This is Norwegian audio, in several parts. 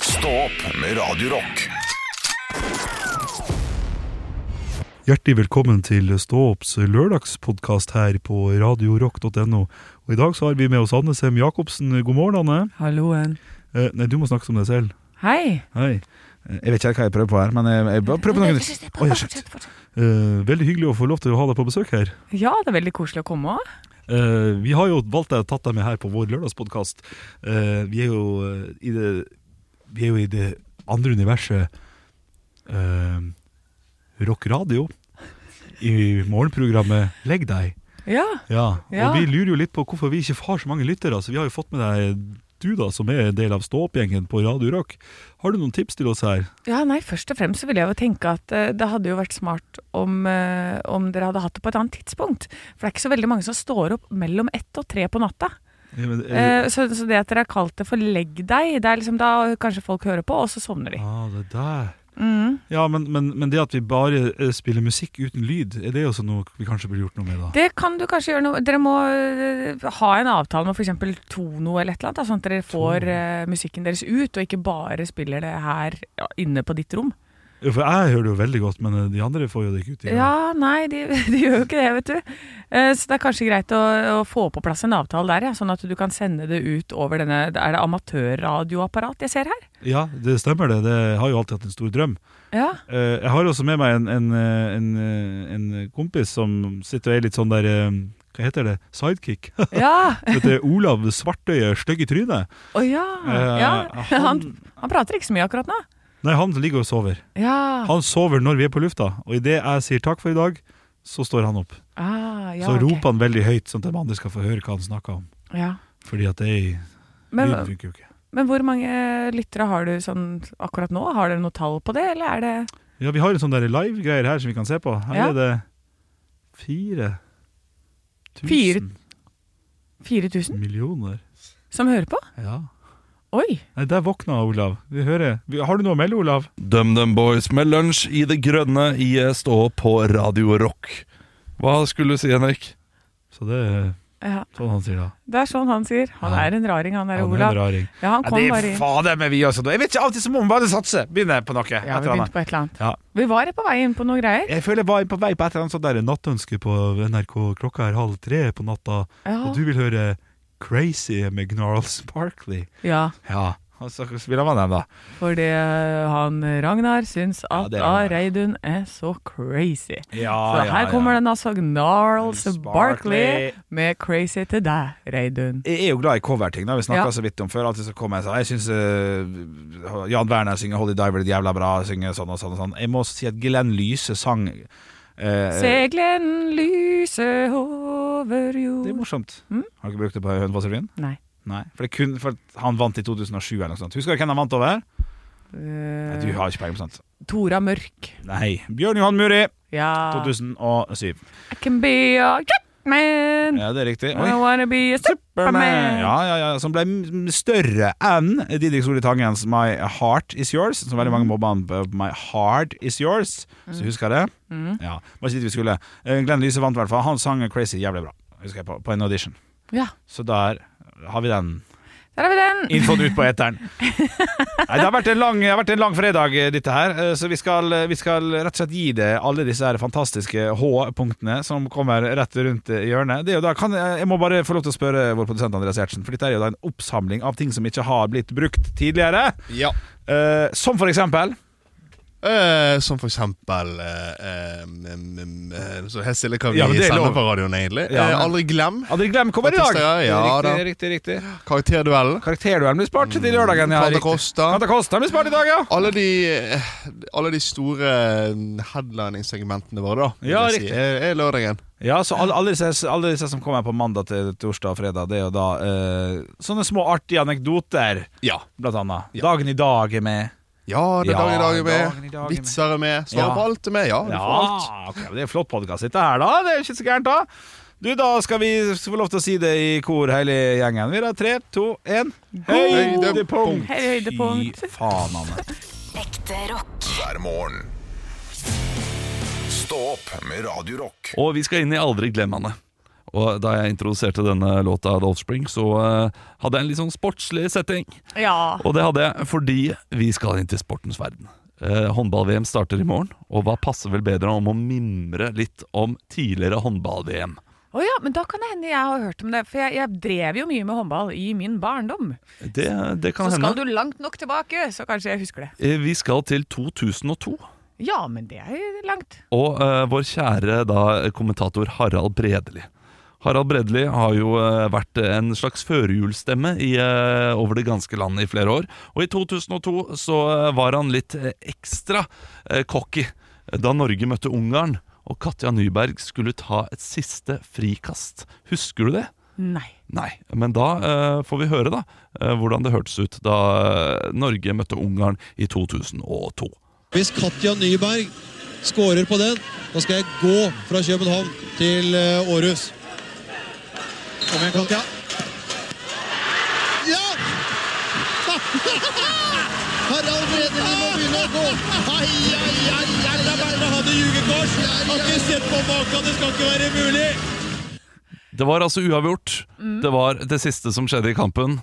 Stå opp med Radio Rock Hjertelig velkommen til Ståops lørdagspodkast her på radiorock.no. Og I dag så har vi med oss Anne Sem Jacobsen. God morgen, Anne. Halloen. Eh, nei, du må snakke som deg selv. Hei. Hei. Eh, Jeg vet ikke helt hva jeg prøver på her, men eh, jeg, jeg bare prøver på noe nytt. Oi, shit. Eh, veldig hyggelig å få lov til å ha deg på besøk her. Ja, det er veldig koselig å komme òg. Eh, vi har jo valgt deg og tatt deg med her på vår lørdagspodkast. Eh, vi er jo eh, i det Vi er jo i det andre universet eh, rock radio i morgenprogrammet Legg deg. Ja. Ja, Ja. og vi lurer jo litt på hvorfor vi ikke har så mange lyttere. Så vi har jo fått med deg du, da, som er en del av Stå-opp-gjengen på Radio Rock. Har du noen tips til oss her? ja, nei, først og fremst så ville jeg jo tenke at eh, det hadde jo vært smart om, eh, om dere hadde hatt det på et annet tidspunkt. For det er ikke så veldig mange som står opp mellom ett og tre på natta. Ja, men, eh, Eh, så, så det at dere har kalt det for 'legg deg', det er liksom da kanskje folk hører på, og så sovner de. ah, det der. Mm. Ja, men, men, men det at vi bare eh, spiller musikk uten lyd, er det også noe vi kanskje burde gjort noe med, da? Det kan du kanskje gjøre noe Dere må eh, ha en avtale med f.eks. Tono eller et eller annet, da, sånn at dere får eh, musikken deres ut, og ikke bare spiller det her ja, inne på ditt rom. Jo, For jeg hører det jo veldig godt, men eh, de andre får jo det ikke ut. i gang. Ja, nei, de, de gjør jo ikke det, vet du. Eh, Så det er kanskje greit å, å få på plass en avtale der, ja, sånn at du kan sende det ut over denne Er det amatørradioapparat jeg ser her? ja, det stemmer det. Det har jo alltid hatt en stor drøm. Ja. Eh, Jeg har også med meg en, en, eh, en, eh, en kompis som sitter og er litt sånn der eh, Hva heter det? Sidekick? Ja! Dette er Olav Svartøye Stygg i trynet. Å ja. Eh, ja. Han, han- han prater ikke så mye akkurat nå. Nei, han ligger og sover. Ja. Han sover når vi er på lufta, og idet jeg sier takk for i dag, så står han opp. Ah, ja så ok. roper han veldig høyt, sånn at de andre skal få høre hva han snakker om. Ja. Fordi at det Men, lyden funker jo ikke. men hvor mange lyttere har du sånn akkurat nå? Har dere noe tall på det, eller er det Ja, vi har en sånn der live-greier her som vi kan se på. Her Ja. er det fire Fire tusen 4000 millioner. som hører på? Ja. Oi! Nei, der våkna Olav. Vi hører. Vi- Har du noe å melde, Olav? DumDum Boys med lunsj i det grønne i Stå på Radio Rock. Hva skulle du si, Henrik? Så det er Ja, sånn han sier da. det er sånn han sier. Han Ja. er en raring, han der Han er en Olav. raring. Ja, han kom bare inn. fader med vi også. da. Jeg vet ikke, av og til så må man bare satse. Begynne på noe. et Ja, vi eller annet. begynte på et eller annet. Ja. Vi var på vei inn på noen greier. Jeg føler jeg var på vei på et eller annet sånt der nattønske på NRK. Klokka er halv tre på natta, og Ja. du vil høre Crazy med Gnarls Barkley. ja, Ja, og så spiller man den, da. fordi han Ragnar syns Ja, at det er ja, Ragnar. Ah, Reidun er så crazy. Ja, Så her kommer den altså, Gnarls Sparkly. Barkley med 'Crazy til deg', Reidun. Jeg er jo glad i coverting. da Vi snakka Ja. så vidt om før. Alltid så kommer jeg sånn Jeg syns eh, Jan Werner synger 'Holy Diver' jævla bra. Synger sånn og sånn og sånn. Jeg må si at Glenn Lyse sang eh, Seglen lyser over Det er jord morsomt. Mm. Har du ikke brukt det på Hønefoss-revyen? Nei. Nei. For, det er kun, for han vant i 2007 eller noe sånt. Husker du hvem han vant over? Nei, du Eh, har ikke peiling på sånt. Tora Mørk. Nei. Bjørn Johan Muri, Ja. 2007. I can be a jetman. Ja, det er riktig. I Oi. wanna be a Mm. superman. Ja, ja, ja, som ble m- større enn Didrik Solli Tangens 'My Heart Is Yours'. Som veldig mange mobba han på 'My Heart Is Yours'. Så husker jeg det. Mm. Mm. Ja, Var ikke dit vi skulle. Eh, Glenn Lyse vant i hvert fall. Han sang 'Crazy' jævlig bra. Husker jeg på, på en audition. Ja. Så der har vi den Der har vi den. infoen ut på eteren. Nei, det, har vært en lang, det har vært en lang fredag, eh, dette her. eh, Så vi skal, vi skal rett og slett gi det alle disse her fantastiske H-punktene som kommer rett rundt eh, hjørnet. Det er jo da, kan, eh, jeg må bare få lov til å spørre vår produsent Andreas Gjertsen, for dette er jo da en oppsamling av ting som ikke har blitt brukt tidligere. Ja. Eh, som for eksempel Eh, som for eksempel eh, eh, mm, mm, eh, Så helt stille hva vi Ja, men det er sender lov. på radioen, egentlig. Ja, eh, men- aldri glem Aldri glem kommer i dag! Artister, ja, riktig, da. riktig, riktig. karakterduellen. Karakterduellen blir spart til lørdagen. Ja, Plata riktig. Costa. Kanta Kosta blir spart i dag, ja! Alle de, eh, alle de store headlining-segmentene våre, da. vil Ja, jeg si, riktig. Er, er lørdagen. Ja, så alle, alle, disse, alle disse som kommer på mandag til torsdag og fredag, det er jo da eh, sånne små artige anekdoter, Ja. blant annet. Ja. Dagen i dag er med. Ja, det er Ja, dagen i dag er dagen i dag er med. med. Vitser er med. Svar Ja. på alt er med. Ja, du Ja, får alt. ok, men det er flott podkast dette her, da. Det er ikke så gærent, da. Du, da skal vi få lov til å si det i kor, hele gjengen. Vi da, Tre, to, én. Høydepunkt. Høydepunkt. Fy faen, Anne. Ekte rock. hver morgen. Stå opp med Radio Rock. Og vi skal inn i Aldri glem Anne. Og da jeg introduserte denne låta The Offspring, så eh, hadde jeg en litt sånn sportslig setting. Ja. Og det hadde jeg fordi vi skal inn til sportens verden. Eh, Håndball-VM starter i morgen, og hva passer vel bedre om å mimre litt om tidligere håndball-VM? Å ja, men da kan det hende jeg har hørt om det. For jeg, jeg drev jo mye med håndball i min barndom. Det, det kan Så skal hende. du langt nok tilbake, så kanskje jeg husker det. Eh, Vi skal til 2002. Ja, men det er jo langt. Og eh, vår kjære da, kommentator Harald Bredeli. Harald Bredeli har jo eh, vært en slags førjulsstemme i, eh, over det ganske landet i flere år. Og i 2002 så eh, var han litt eh, ekstra eh, cocky da Norge møtte Ungarn. Og Katja Nyberg skulle ta et siste frikast. Husker du det? Nei. Nei. Men da eh, får vi høre da eh, hvordan det hørtes ut da eh, Norge møtte Ungarn i 2002. Hvis Katja Nyberg skårer på den, da skal jeg gå fra København til eh, Århus. Kom igjen, Katja. Ja! Harald Bredeli må begynne å gå. Ai, ai, ai, ai. La være å ha det jugekors. Har ikke sett på maken. Det skal ikke være mulig. Det var altså uavgjort. Mm. Det var det siste som skjedde i kampen.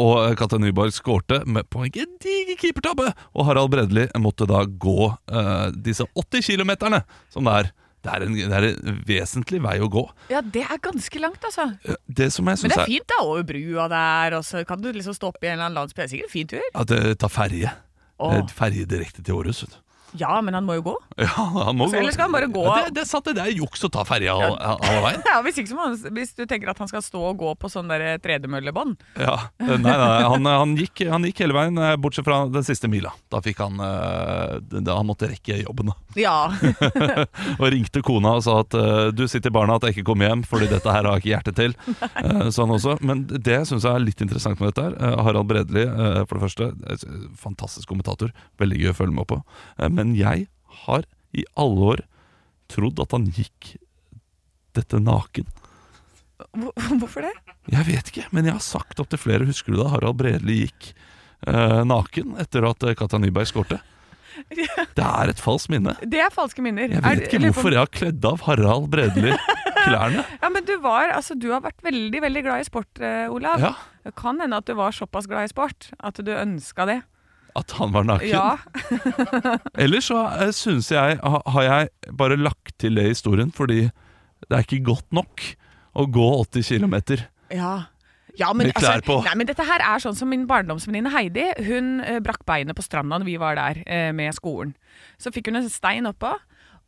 Og Katja Nyborg skårte med på en gedigen keepertabbe. Og Harald Bredli måtte da gå eh, disse 80 kilometerne som det er. Det er, en, det er en vesentlig vei å gå. Ja, det er ganske langt, altså. Det som jeg Men syns det er er, fint, da. Over brua der, og så kan du liksom stoppe i en eller annen landsby. Det er sikkert en fin tur. at det tar ferje. Åh. Eh, Ferje direkte til Århus. vet du. Ja, men han må jo gå. Ja, han må Så gå. ellers skal han bare gå. Ja, det, det satt det der juks å ta ferja all- all veien. Ja, hvis, ikke så må han, hvis du tenker at han skal stå og gå på sånn der tredemøllebånd. Ja, nei, nei, han, han, gikk, han gikk hele veien, eh, bortsett fra den siste mila. Da fikk han eh, da Han måtte rekke jobben, da. Ja. Og ringte kona og sa at eh, du sitter i barna at jeg ikke kommer hjem, fordi dette her har jeg ikke hjerte til. Eh, så han også. Men det jeg syns er litt interessant med dette her, eh, Harald Bredli, eh, for det første, eh, fantastisk kommentator, veldig gøy å følge med på. Eh, men jeg har i alle år trodd at han gikk dette naken. Hvor- Hvorfor det? Jeg vet ikke, men jeg har sagt opp til flere, husker du da Harald Bredli gikk eh, naken etter at eh, Katja Nyberg skårte? Det er et falskt minne. Det er falske minner. Jeg vet ikke hvorfor jeg har kledd av Harald Bredli klærne. Ja, men du var, altså du har vært veldig, veldig glad i sport, eh, Olav. Ja, Det kan hende at du var såpass glad i sport at du ønska det. At han var naken. Ja. Ellers så eh, synes jeg ha- har jeg bare lagt til det i historien, fordi det er ikke godt nok å gå 80 km. Ja. Ja, men, altså, Med klær på. Nei, men dette her er sånn som min barndomsvenninne Heidi. Hun eh, brakk beinet på stranda når vi var der eh, med skolen. Så fikk hun en stein oppå.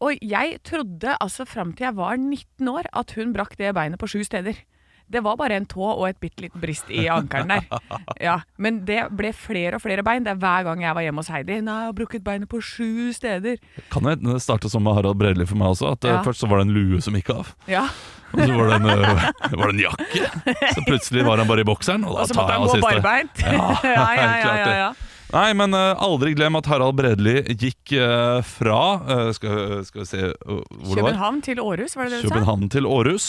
Og jeg trodde altså fram til jeg var 19 år at hun brakk det beinet på sju steder. Det var bare en tå og et bitte lite brist i ankelen der. Ja, men det ble flere og flere bein. Det er hver gang jeg var hjemme hos Heidi. Nei, jeg har brukket beinet på sju steder. Kan jeg starte som med Harald Bredli for meg også? At eh, Ja. Først så var det en lue som gikk av, Ja. og så var det en, eh, var det en jakke. Så plutselig var han bare i bokseren, og da Og så tar måtte jeg han av gå siste. barbeint. ja, ja, ja, klart ja, det. ja. Nei, men eh, aldri glem at Harald Bredli gikk eh, fra eh, skal, skal vi se eh, hvor det var? København til Århus, var det det du sa? København til Århus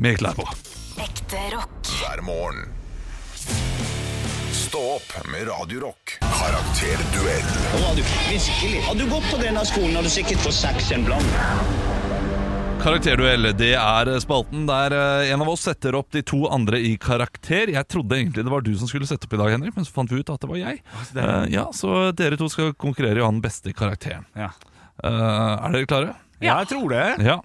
med klær på. Ekte rock. hver morgen. Stå opp med Radio Rock. Karakterduell Nå var du virkelig. Hadde du gått på denne skolen, hadde du sikkert fått seks en blant. Karakterduell, det er øh, spalten der eh, en av oss setter opp de to andre i karakter. Jeg trodde egentlig det var du som skulle sette opp i dag, Henrik, men så fant vi ut at det var jeg. Eh, ja, Så dere to skal konkurrere i å ha den beste karakteren. Ja. Eh, er dere klare? Ja, jeg tror det. Ja.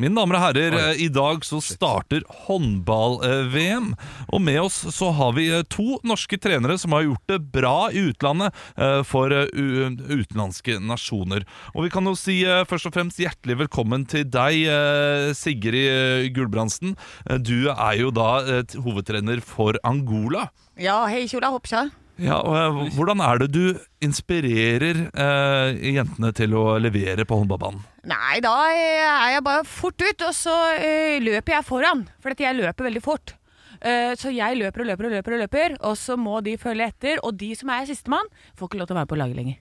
Mine damer og herrer, eh, i dag så starter håndball-VM. Og med oss så har vi eh, to norske trenere som har gjort det bra i utlandet eh, for eh, u- utenlandske nasjoner. Og vi kan jo si eh, først og fremst hjertelig velkommen til deg, eh, Sigrid eh, Gulbrandsen. Eh, Du er jo da eh, t- hovedtrener for Angola. Ja, hei Kjola Hoppsa. Ja, og eh, Hvordan er det du inspirerer eh, jentene til å levere på håndballbanen? Nei, da eh, er jeg bare fort ut, og så eh, løper jeg foran. For at jeg løper veldig fort. Eh, så jeg løper og løper og løper, og løper, og så må de følge etter. Og de som er sistemann, får ikke lov til å være på laget lenger.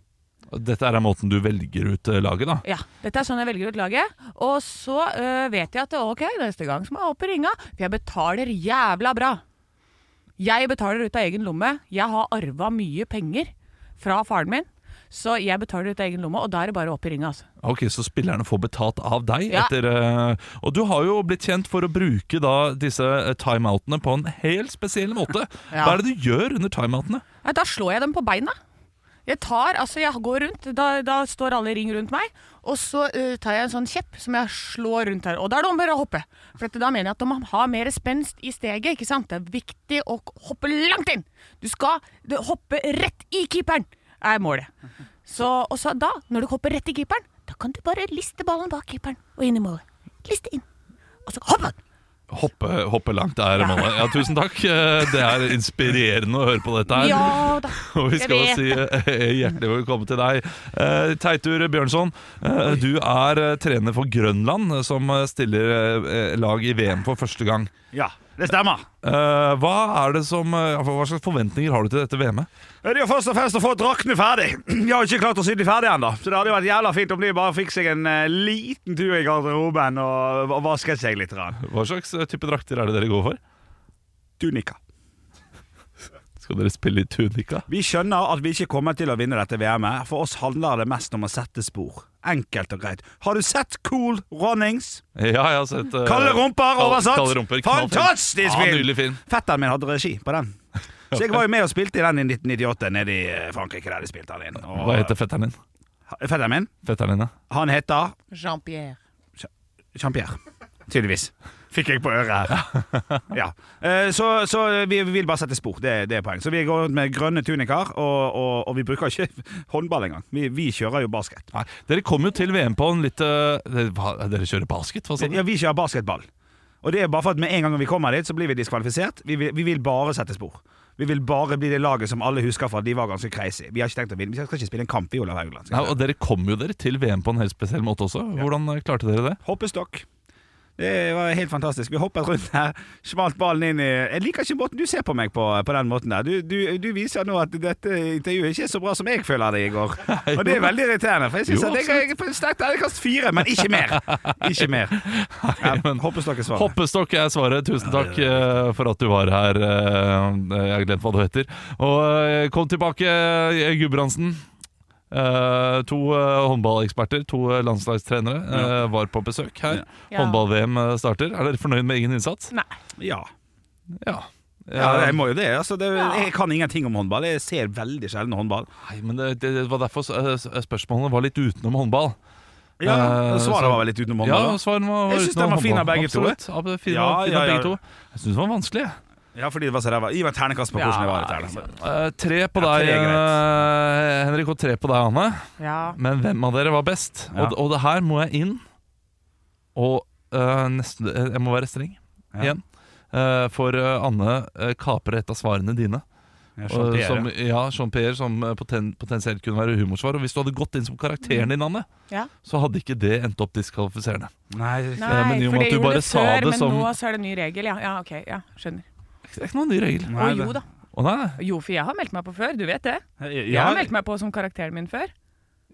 Dette er måten du velger ut eh, laget, da? Ja, Dette er sånn jeg velger ut laget. Og så eh, vet jeg at ok, neste gang så må jeg opp i ringa, for jeg betaler jævla bra. Jeg betaler ut av egen lomme. Jeg har arva mye penger fra faren min. Så jeg betaler ut av egen lomme, og da er det bare opp i ringa. Altså. Ok, Så spillerne får betalt av deg? Ja. Etter, eh, og du har jo blitt kjent for å bruke da, disse eh, timeoutene på en helt spesiell måte. Ja. Hva er det du gjør under timeoutene? Ja, da slår jeg dem på beina. Jeg tar, altså jeg går rundt, da, da står alle i ring rundt meg, og så eh, tar jeg en sånn kjepp som jeg slår rundt her. Og da er det om å gjøre å hoppe. For at da mener jeg at de har mer spenst i steget, ikke sant? Det er viktig å k- hoppe langt inn. Du skal du, hoppe rett i keeperen, er målet. Så, og så da, når du hopper rett i keeperen, da kan du bare liste ballen bak keeperen og inn i målet. Liste inn. Og så hopp! Hoppe, hoppe langt er målet. Ja, tusen takk. Eh, Det er inspirerende å høre på dette her. Ja da. Og vi Jeg skal jo vet si eh, hjertelig velkommen til deg. Eh, Teitur Bjørnson, eh, du er eh, trener for Grønland, eh, som eh, stiller eh, lag i VM for første gang. Ja, det stemmer. Eh, Hva, er det som, eh, hva slags forventninger har du til dette VM-et? Det er jo først og fremst å få draktene ferdig. Jeg har ikke klart å sy de ferdig ennå. Så det hadde jo vært jævla fint om de bare fikk seg en eh, liten tur i garderoben og og vasket seg litt. grann. Hva slags eh, type drakter er det dere går for? Tunika. Skal dere spille i tunika? Vi skjønner at vi ikke kommer til å vinne dette VM-et. For oss handler det mest om å sette spor. Enkelt og greit. Har du sett Cool Runnings? Ja, jeg har sett eh, Kalde rumper Kal- oversatt! Kalde rumper, knallfilm. Fantastisk Ja, film! nydelig film. Fetteren min hadde regi på den. Så jeg var jo med og spilte i den i 1998 nede i eh, Frankrike. der de spilte den inn og, Hva heter fetteren din? Fetteren min Fetteren din, ja. han heter Jean-Pierre. Jean-Pierre. Tydeligvis. Fikk jeg på øret her. Ja. Eh, Så, så vi vil bare sette spor. Det, det er poeng. Så vi går rundt med grønne tunikaer, og, og, og vi bruker ikke håndball engang. Vi, vi kjører jo basket. Nei, dere kom jo til VM på en litt eh, det- hva- Dere kjører basket, hva sa du? Ja, vi kjører basketball. Og det er bare for at med en gang vi kommer dit, så blir vi diskvalifisert. Vi vil, vi vil bare sette spor. Vi vil bare bli det laget som alle husker fra at de var ganske crazy. Vi har ikke tenkt å vinne. Vi skal ikke spille en kamp i Olav Haugland. Nei, og Dere kom jo dere til VM på en helt spesiell måte også. Hvordan eh, klarte dere det? Hoppestokk. Det var helt fantastisk. Vi hoppet rundt her, smalt ballen inn i Jeg liker ikke måten du ser på meg på, på den måten der. Du, du, du viser nå at dette intervjuet ikke er så bra som jeg føler det i går. Og det er veldig irriterende, for jeg syns Jo, at jeg jeg er på sterkt terningkast fire, men ikke mer. Ikke mer. Ja, men- hoppestokk er svaret. Hoppestokk er svaret. Tusen takk eh, for at du var her. eh, Jeg har glemt hva du heter. Og eh, kom tilbake, eh, Gudbrandsen. Eh, to eh, håndballeksperter, to eh, landslagstrenere, eh, var på besøk her. Ja. Håndball-VM eh, starter. Er dere fornøyd med egen innsats? Ja. Ja. ja, jeg må jo det. Altså, det jeg kan ingenting om håndball. Jeg ser veldig sjelden håndball. Nei, men det, det var derfor eh, spørsmålene var litt utenom håndball. Ja, Eh, Svaret så- var vel litt utenom Ja, håndball. da. svaren var, var Jeg synes utenom den var fin av håndball. begge to. Absolutt. Ja, fin, Ja, av- fin ja, av ja. begge to. Jeg syns den var vanskelig. jeg. Ja, fordi det var så ræva. Gi meg et terningkast på hvordan jeg var. i terningkast. Eh, tre på Ja, deg, tre er eh, Henrik, og tre på deg, Anne. Ja. Men hvem av dere var best? Ja. Og, og det her må jeg inn og eh, nesten, eh, Jeg må være streng Ja. igjen. Eh, for eh, Anne eh, kaper et av svarene dine. Jeg Og, skjønte det, som, ja, Jean-Pierre som eh, poten, potensielt kunne være humorsvar. Og hvis du hadde gått inn som karakteren din, Anne, Ja. så hadde ikke det endt opp diskvalifiserende. Nei, Eh, men i og med at du bare sa det men som- nå så er det ny regel. Ja, ja ok, ja, skjønner. Det er ikke noen ny regel. Å Nei, det- jo da. Å nei, Jo, for jeg har meldt meg på før, du vet det. Jeg Ja, har meldt meg på som karakteren min før.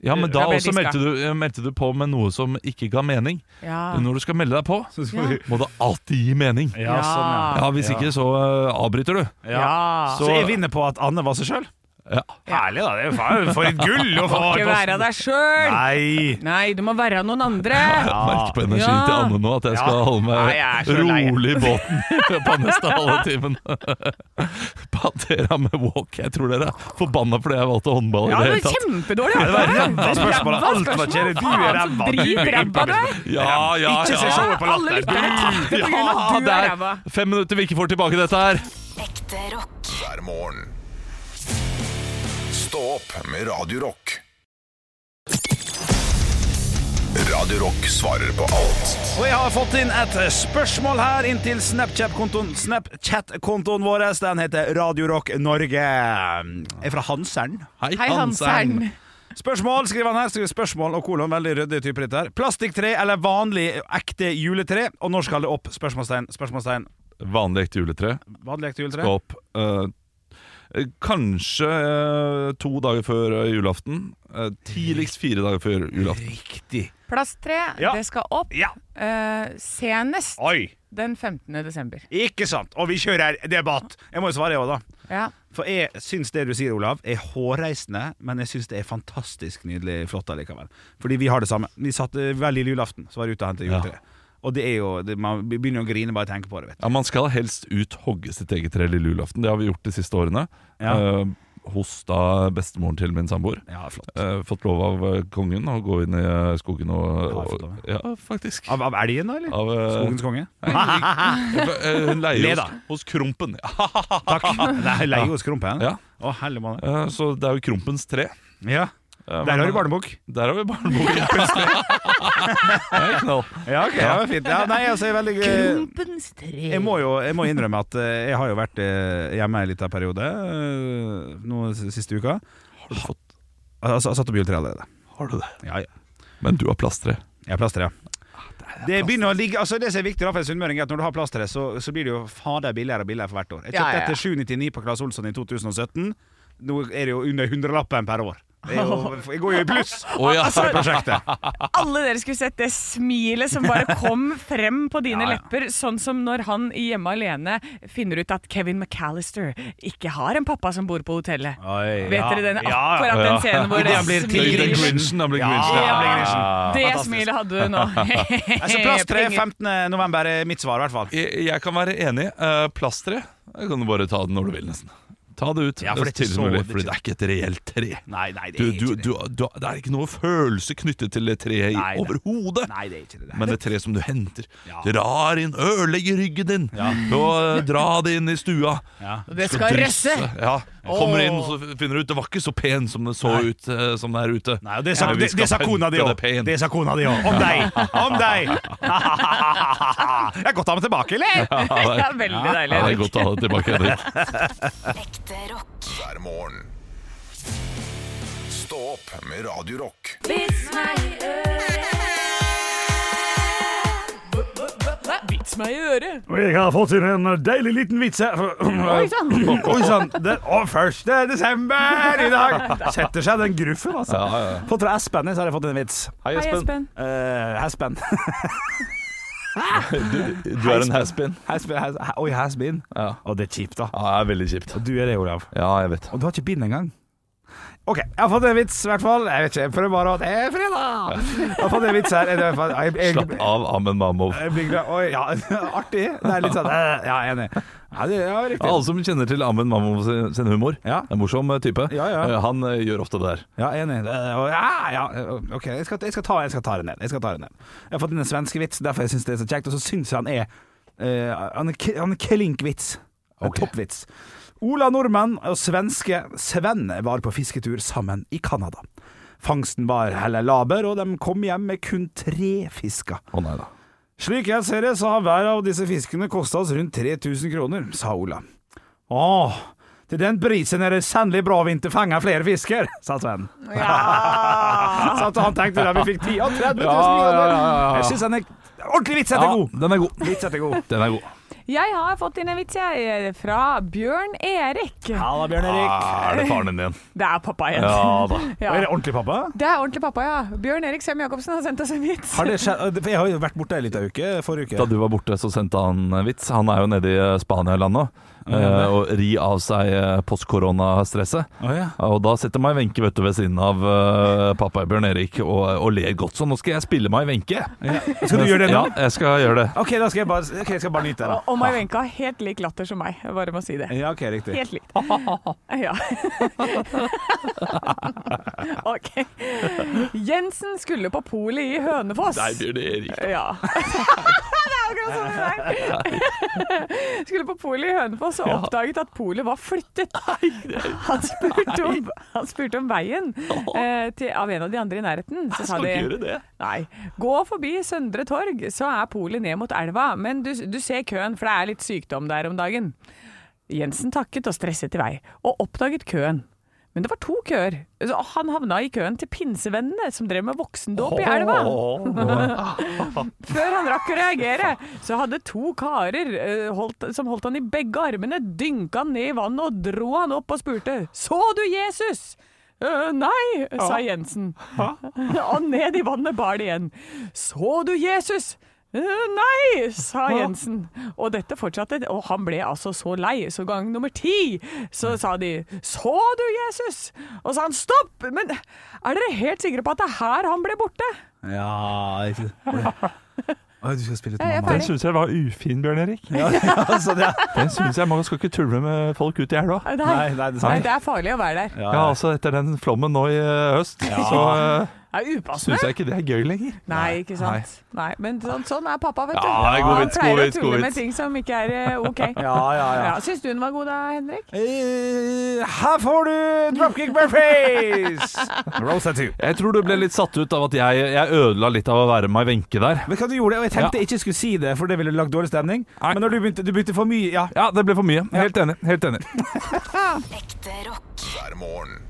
Ja, men da Da ble også diska. meldte du, eh, meldte du på med noe som ikke ga mening. Ja. Når du skal melde deg på, Ja. må det alltid gi mening. Ja, sånn, ja. Ja, Hvis ikke, så eh, avbryter du. Ja. Så jeg vinner på at Anne var seg sjøl? Ja. Herlig, da. Det er jo faen for et gull å få! Ikke være deg sjøl! Nei! Nei, du må være noen andre! Jeg merker på energien Ah, Ja. til Anne nå at jeg skal Ja. holde meg Nei, jeg er så lei. rolig i båten på neste halve timen. Patera med walk. Jeg tror dere er forbanna fordi jeg valgte håndball. i Ja, det hele var tatt. kjempedårlig! Det var Ræva ræva spørsmål. Alt var kjedelig. Du er Faen, ræva. så drit ræva du er! ja, ja, Ikke se ja. showet på Alle latter. lyttere tapte på grunn av Ja, at du det er er ræva. Fem minutter vi ikke får tilbake dette her. Ekte rock. hver morgen. Stå opp med Radio Rock. Radio Rock svarer på alt Og jeg har fått inn et spørsmål her inn til Snapchat-kontoen Snapchat-kontoen vår. Den heter Radio Rock Norge. Er fra Hansern. Hei, Hansern. Spørsmål, skriver han her. Skriver spørsmål og kolon. Veldig ryddig type dette her. Plastikktre eller vanlig ekte juletre? Og når skal det opp? Spørsmålstegn. Spørsmålstegn. Vanlig ekte juletre. Vanlig ekte juletre? skal opp eh, Kanskje eh, to dager før eh, julaften. Eh, tidligst fire dager før julaften. Riktig. Plasttre, Ja. det skal opp. Ja. Eh, senest Oi. den 15. desember. Ikke sant? Og vi kjører debatt! Jeg må jo svare, jeg òg, da. Ja. For jeg syns det du sier, Olav, er hårreisende, men jeg syns det er fantastisk nydelig flott allikevel. Fordi vi har det samme. Vi satt eh, hver lille julaften, så var jeg ute og hentet juletre. Og det er jo det, Man begynner å grine bare av å tenke på det, vet du. Ja, Man skal helst ut hogge sitt eget tre lille julaften. Det har vi gjort de siste årene. Ja. Eh, hos da bestemoren til min samboer. Ja, flott. Eh, fått lov av eh, kongen å gå inn i eh, skogen og Ja, jeg har fått lov, og- Ja, faktisk. Av, av elgen, da, eller? Av, eh, Skogens konge? Eh, Hun leier Le, hos, da. hos Krompen. Ja. Takk. Nei, jeg leier hos Krompen. Ja. Å, helle måned. Eh, Så det er jo Krompens tre. Eh, Ja. Der har du barnebok. Der har vi barneboken. Krompens tre. Det er knall. Ja, ok, ja, men fint. Ja, nei, altså, jeg er veldig Klumpens tre. Jeg må jo jeg må innrømme at eh, jeg har jo vært eh, hjemme en liten periode eh, nå s- siste uka. Har du fått Altså, jeg har satt opp juletre allerede. Har du det? Ja, ja. Men du har plasttre. Jeg har plasttre, ja. Ah, Det begynner å ligge Altså det som er viktig da for en sunnmøring, er at når du har plasttre, så, så blir det jo fader billigere og billigere for hvert år. Jeg Ja, kjøpte ja, ja. etter 799 på Claes Olsson i 2017. Nå er det jo under hundrelappen per år. Det er jo, jeg går jo i pluss Å ja. Altså, på det prosjektet. Alle dere skulle sett det smilet som bare kom frem på dine Ja, ja. lepper, sånn som når han i Hjemme alene finner ut at Kevin McAllister ikke har en pappa som bor på hotellet. Oi, Vet ja. dere den, Ja, ja. akkurat den scenen hvor Idet det han blir til Den smilet Grinchen. Grinchen, den blir Ja, Grinchen. den blir Ja. Grinchen. Det Fantastisk. smilet hadde du nå. Altså, plasttre Penger. 15. november er mitt svar, i hvert fall. Jeg, jeg kan være enig. Eh, Plasttre jeg kan du bare ta det når du vil, nesten. Ta det ut. Ja, for det er ikke tidligst mulig, så- fordi det er ikke et reelt tre. Nei, nei, det Du, er du, ikke du, det. du, det er ikke noe følelse knyttet til det treet i- Nei, nei. overhodet. Nei, det er ikke det. Men det treet som du henter, Ja. drar inn, ødelegger ryggen din, og eh, dra det inn i stua. Ja. Det skal røsse! Ja, Kommer inn og så finner du ut det var ikke så pen som det så ut eh, som det er ute. Nei, og det sa, Ja, vi det, skal det sa pynte kona di òg. det pent. Det sa kona di òg. Om deg! Om deg! Det er godt å ha meg tilbake, eller? det Det er, er veldig ja, deilig. det er Henrik. godt å ha det tilbake, Henrik. Ekte rock. hver morgen. Stå opp med Radio Rock. Vits meg i øret. Vits meg i øret. Og jeg har fått inn en deilig liten vits her. Oi sann! Oi sann. Det- Og 1. desember i dag setter seg den gruffen, altså. Fått fra Espen, så har jeg fått en vits. Hei, Espen. Eh, Espen. Du er en haspin. Espen, Espen. Oi, Espen. Ja. Og det er kjipt, da. Ja, det er veldig kjipt. Du er det, Olav. Ja, jeg vet. Og du har ikke bind engang. OK, jeg har fått en vits, i hvert fall. Jeg vet ikke, jeg prøver bare å Det er fredag! Jeg har fått en vits her. Jeg, jeg, jeg, Slapp av, Amund Mamov. jeg blir glad. Oi, ja, artig. Det er litt sånn eh, Ja, enig. Ja, det ja, Ja, riktig. alle som kjenner til Amund Mamov sin, sin humor, Ja. en morsom eh, type, Ja, ja. eh, han eh, gjør ofte det der. Ja, enig. Det- Ja, ja, OK, jeg skal, jeg skal ta, jeg skal ta det ned. Jeg skal ta det ned. Jeg har fått inn en svenske vits, derfor jeg syns det er så kjekt. Og så syns jeg han er eh, Han er, k- han er klink-vits. En Ok. Toppvits. Ola nordmann og svenske Sven var på fisketur sammen i Canada. Fangsten var heller laber, og de kom hjem med kun tre fisker. Å nei da. Slik jeg ser det, så har hver av disse fiskene kosta oss rundt 3000 kroner, sa Ola. Å, til den prisen er det sannelig bra vi ikke fanger flere fisker, sa Sven. så at han tenkte da vi fikk 10 av 30 000 Ja, kroner. ja, ja, ja. Jeg syns han er ordentlig vits etter god. den er god. Vits etter god. Den er god. Jeg har fått inn en vits jeg, fra Bjørn Erik. Halla, Bjørn Ah, er det faren din igjen? Det er pappa igjen. Ja da. Ja. Er det ordentlig pappa? Det er ordentlig pappa, ja. Bjørn Erik Sem Jacobsen har sendt oss en vits. Har det skjedd? For Jeg har jo vært borte ei lita uke forrige uke. Da du var borte, så sendte han en vits. Han er jo nede i eh, Spania-land nå. eh, og ri av seg eh, post-korona-stresset. Å, ja. Og da setter meg Wenche vet du, ved siden av eh, pappa Bjørn Erik og, og ler godt. Så nå skal jeg spille meg Wenche. Skal du gjøre det nå? Ja, jeg skal gjøre det. OK, da skal jeg bare, ok, jeg skal bare nyte det. Og Mai Wenche har helt lik latter som meg. Jeg bare må si det. Ja, OK, riktig. Helt likt. Ja. OK. Jensen skulle på polet i Hønefoss. Nei, Bjørn Erik. Ja. det er akkurat sånn det er. Skulle på polet i Hønefoss og oppdaget at polet var flyttet. Han spurte om, han spurte om veien eh, til, av en av de andre i nærheten. Så sa Skal de ikke gjøre det. Nei. Gå forbi Søndre Torg, så er polet ned mot elva. Men du, du ser køen, for det er litt sykdom der om dagen. Jensen takket og stresset i vei, og oppdaget køen. Men det var to køer. Så han havna i køen til pinsevennene, som drev med voksendåp i elva. Før han rakk å reagere, så hadde to karer eh, holdt, som holdt han i begge armene, dynka han ned i vannet og dro han opp og spurte Så du Jesus? «Eh, nei, sa Jensen. og ned i vannet bar det igjen. Så du Jesus? «Eh, Nei, sa Jensen. Og dette fortsatte, og han ble altså så lei. Så gang nummer ti så sa de 'Så du Jesus?' Og sa han 'Stopp!' Men er dere helt sikre på at det er her han ble borte? Ja ikke Oi, du skal spille Sånn, Jeg er til mamma. Den ferdig. syns jeg var ufin, Bjørn Erik. Den syns jeg man skal ikke tulle med folk ut i elva. Nei, Nei, nei, nei, det det er farlig å være der. Ja, altså Etter den flommen nå i eh, høst, så Det er uh, syns upassende. jeg ikke det er gøy lenger. Nei, ikke sant. Nei, Men sånn, sånn er pappa, vet du. Ja, det er god han vits, god pleier å vits, god tulle med vits. ting som ikke er eh, OK. Ja, ja, ja. Syns du den var god da, Henrik? Eh, Her får du Dropkick Murphys! Rose tattoo. Jeg tror du ble litt satt ut av at jeg, jeg ødela litt av å være meg Wenche der. Vet du hva du gjorde? Og jeg tenkte jeg ikke skulle si det, for det ville lagd dårlig stemning. Men når du begynte, du begynte for mye Ja. Ja, det ble for mye. Helt enig. helt enig Ekte rock. hver morgen.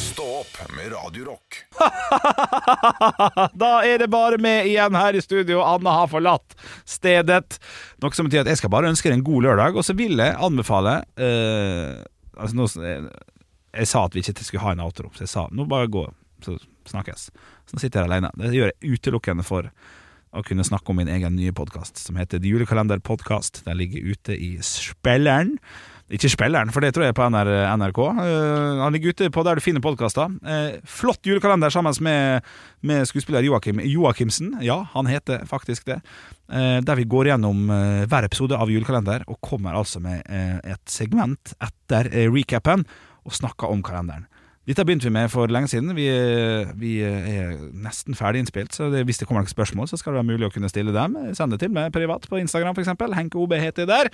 Stå opp med Radio Rock. Da er det bare meg igjen her i studio. Anna har forlatt stedet. Noe som betyr at jeg skal bare ønske deg en god lørdag, og så vil jeg anbefale eh, Altså, nå jeg, jeg sa at vi ikke skulle ha en outro, så jeg sa nå bare gå, så snakkes. Så nå sitter jeg alene. Det gjør jeg utelukkende for å kunne snakke om min egen nye podkast, som heter The Julekalender Podcast. Den ligger ute i spilleren. Ikke spilleren, for det tror jeg er på NR, NRK. Eh, han ligger ute på der du finner podkaster. Eh, flott julekalender sammen med, med skuespiller Joakim Joakimsen. Ja, han heter faktisk det. Eh, der vi går gjennom eh, hver episode av julekalender, og kommer altså med eh, et segment etter eh, recapen og snakker om kalenderen. Dette begynte vi med for lenge siden. Vi, eh, vi er nesten ferdig innspilt, så det, hvis det kommer noen spørsmål, så skal det være mulig å kunne stille dem. Send det til meg privat på Instagram, f.eks. Henke OB heter jeg der.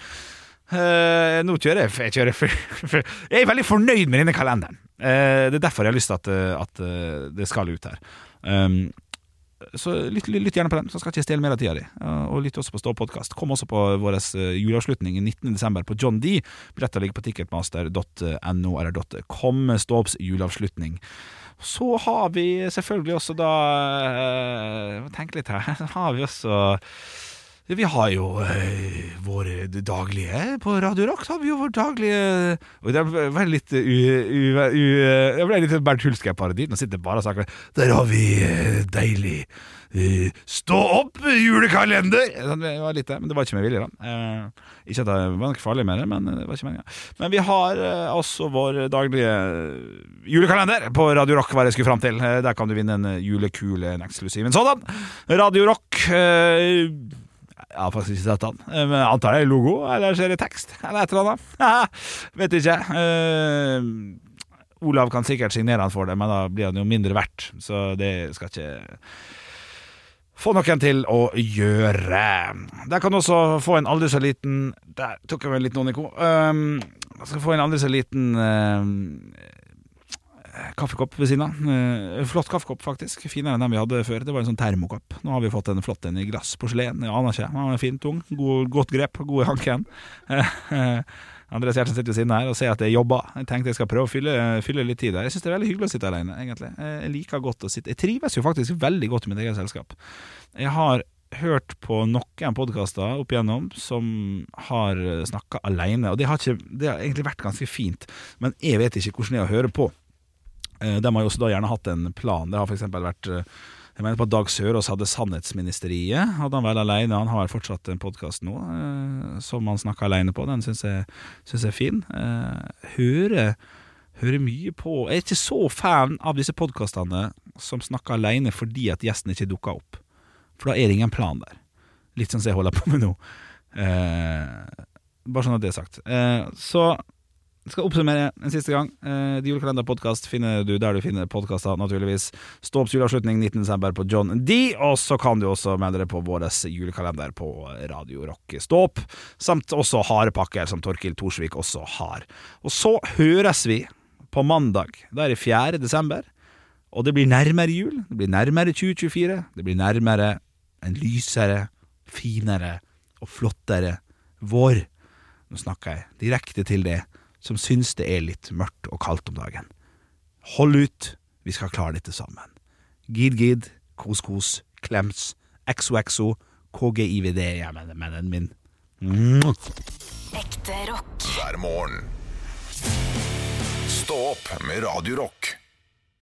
Eh, nå kjører jeg Jeg, kjører, jeg er veldig fornøyd med denne kalenderen. Eh, det er derfor jeg har lyst til at, eh, at eh, det skal ut her. Um, så lytt, lytt lytt gjerne på den, så skal ikke jeg stjele mer av tida di. Eh, Og lytt også på Stå podkast. Kom også på vår eh, juleavslutning 19.12. på John D. Billetter ligger på ticketmaster.no eller .com. Stå opps juleavslutning. Så har vi selvfølgelig også da eh, jeg må Tenke litt her. Så har vi også vi har jo eh, våre daglige på Radio Rock. Så har vi jo vår daglige Og det ble litt eh, u... u, u jeg ble litt Bernt Hulsker-parodi. Nå sitter jeg bare og snakker Der har vi eh, deilig eh, Stå opp, julekalender! Sånn, Det var litt det, men det var ikke med vilje, da. Eh, ikke at det var noe farlig med det, men eh, det var ikke meninga. Men vi har eh, også vår daglige julekalender på Radio Rock, hva jeg skulle fram til. Eh, Der kan du vinne en eh, julekule, en eksklusiv en sådan. Radio Rock eh, jeg har faktisk ikke sett han. Eh, Men jeg antar det er logo, eller så er det tekst, eller et eller annet. Vet ikke. Eh, Olav kan sikkert signere han for det, men da blir han jo mindre verdt. Så det skal ikke få noen til å gjøre. Der kan du også få en aldri så liten Der tok jeg meg en liten Onico. Um, skal få en aldri så liten ehm, kaffekopp ved siden av. Eh, Flott kaffekopp, faktisk. Finere enn den vi hadde før. Det var en sånn termokopp. Nå har vi fått en flott en i glass porselen. Jeg aner ikke. Den er fin, tung, god, godt grep, god i hanken. Eh, Andreas Gjertsen sitter ved siden her og ser at jeg jobber. Jeg tenkte jeg skal prøve å fylle, fylle litt tid der. Jeg syns det er veldig hyggelig å sitte alene, egentlig. Eh, Jeg liker godt å sitte Jeg trives jo faktisk veldig godt i mitt eget selskap. Jeg har hørt på noen podkaster opp igjennom som har snakka alene, og det har, ikke, det har egentlig vært ganske fint. Men jeg vet ikke hvordan det er å høre på. Eh, De har jo også da gjerne hatt en plan. Det har f.eks. vært eh, Jeg mener på at Dag Sørås hadde Sannhetsministeriet. Hadde han vel alene. Han har fortsatt en podkast nå eh, som han snakker alene på. Den syns jeg, synes jeg er fin. Eh, Hører Hører mye på Jeg er ikke så fan av disse podkastene som snakker alene fordi at gjesten ikke dukker opp. For da er det ingen plan der. Litt sånn som jeg holder på med nå. Eh, bare sånn at det er sagt. Eh, så jeg skal oppsummere en siste gang. Eh, The Julekalender podcast finner du der du finner podkaster, naturligvis. Stå opps juleavslutning 19.12. på John D. Og så kan du også melde deg på vår julekalender på Radio Rock Stå opp, samt også harepakker, som Torkil Thorsvik også har. Og så høres vi på mandag. Da er det 4. desember. Og det blir nærmere jul. Det blir nærmere 2024. Det blir nærmere en lysere, finere og flottere vår. Nå snakker jeg direkte til det som syns det er litt mørkt og kaldt om dagen. Hold ut, vi skal klare dette sammen. Gid, gid, kos, kos, klems, exo-exo, KGIVD, jeg mener, mener min. Mm. Mwah. Ekte rock. hver morgen. Stå opp med Radio Rock.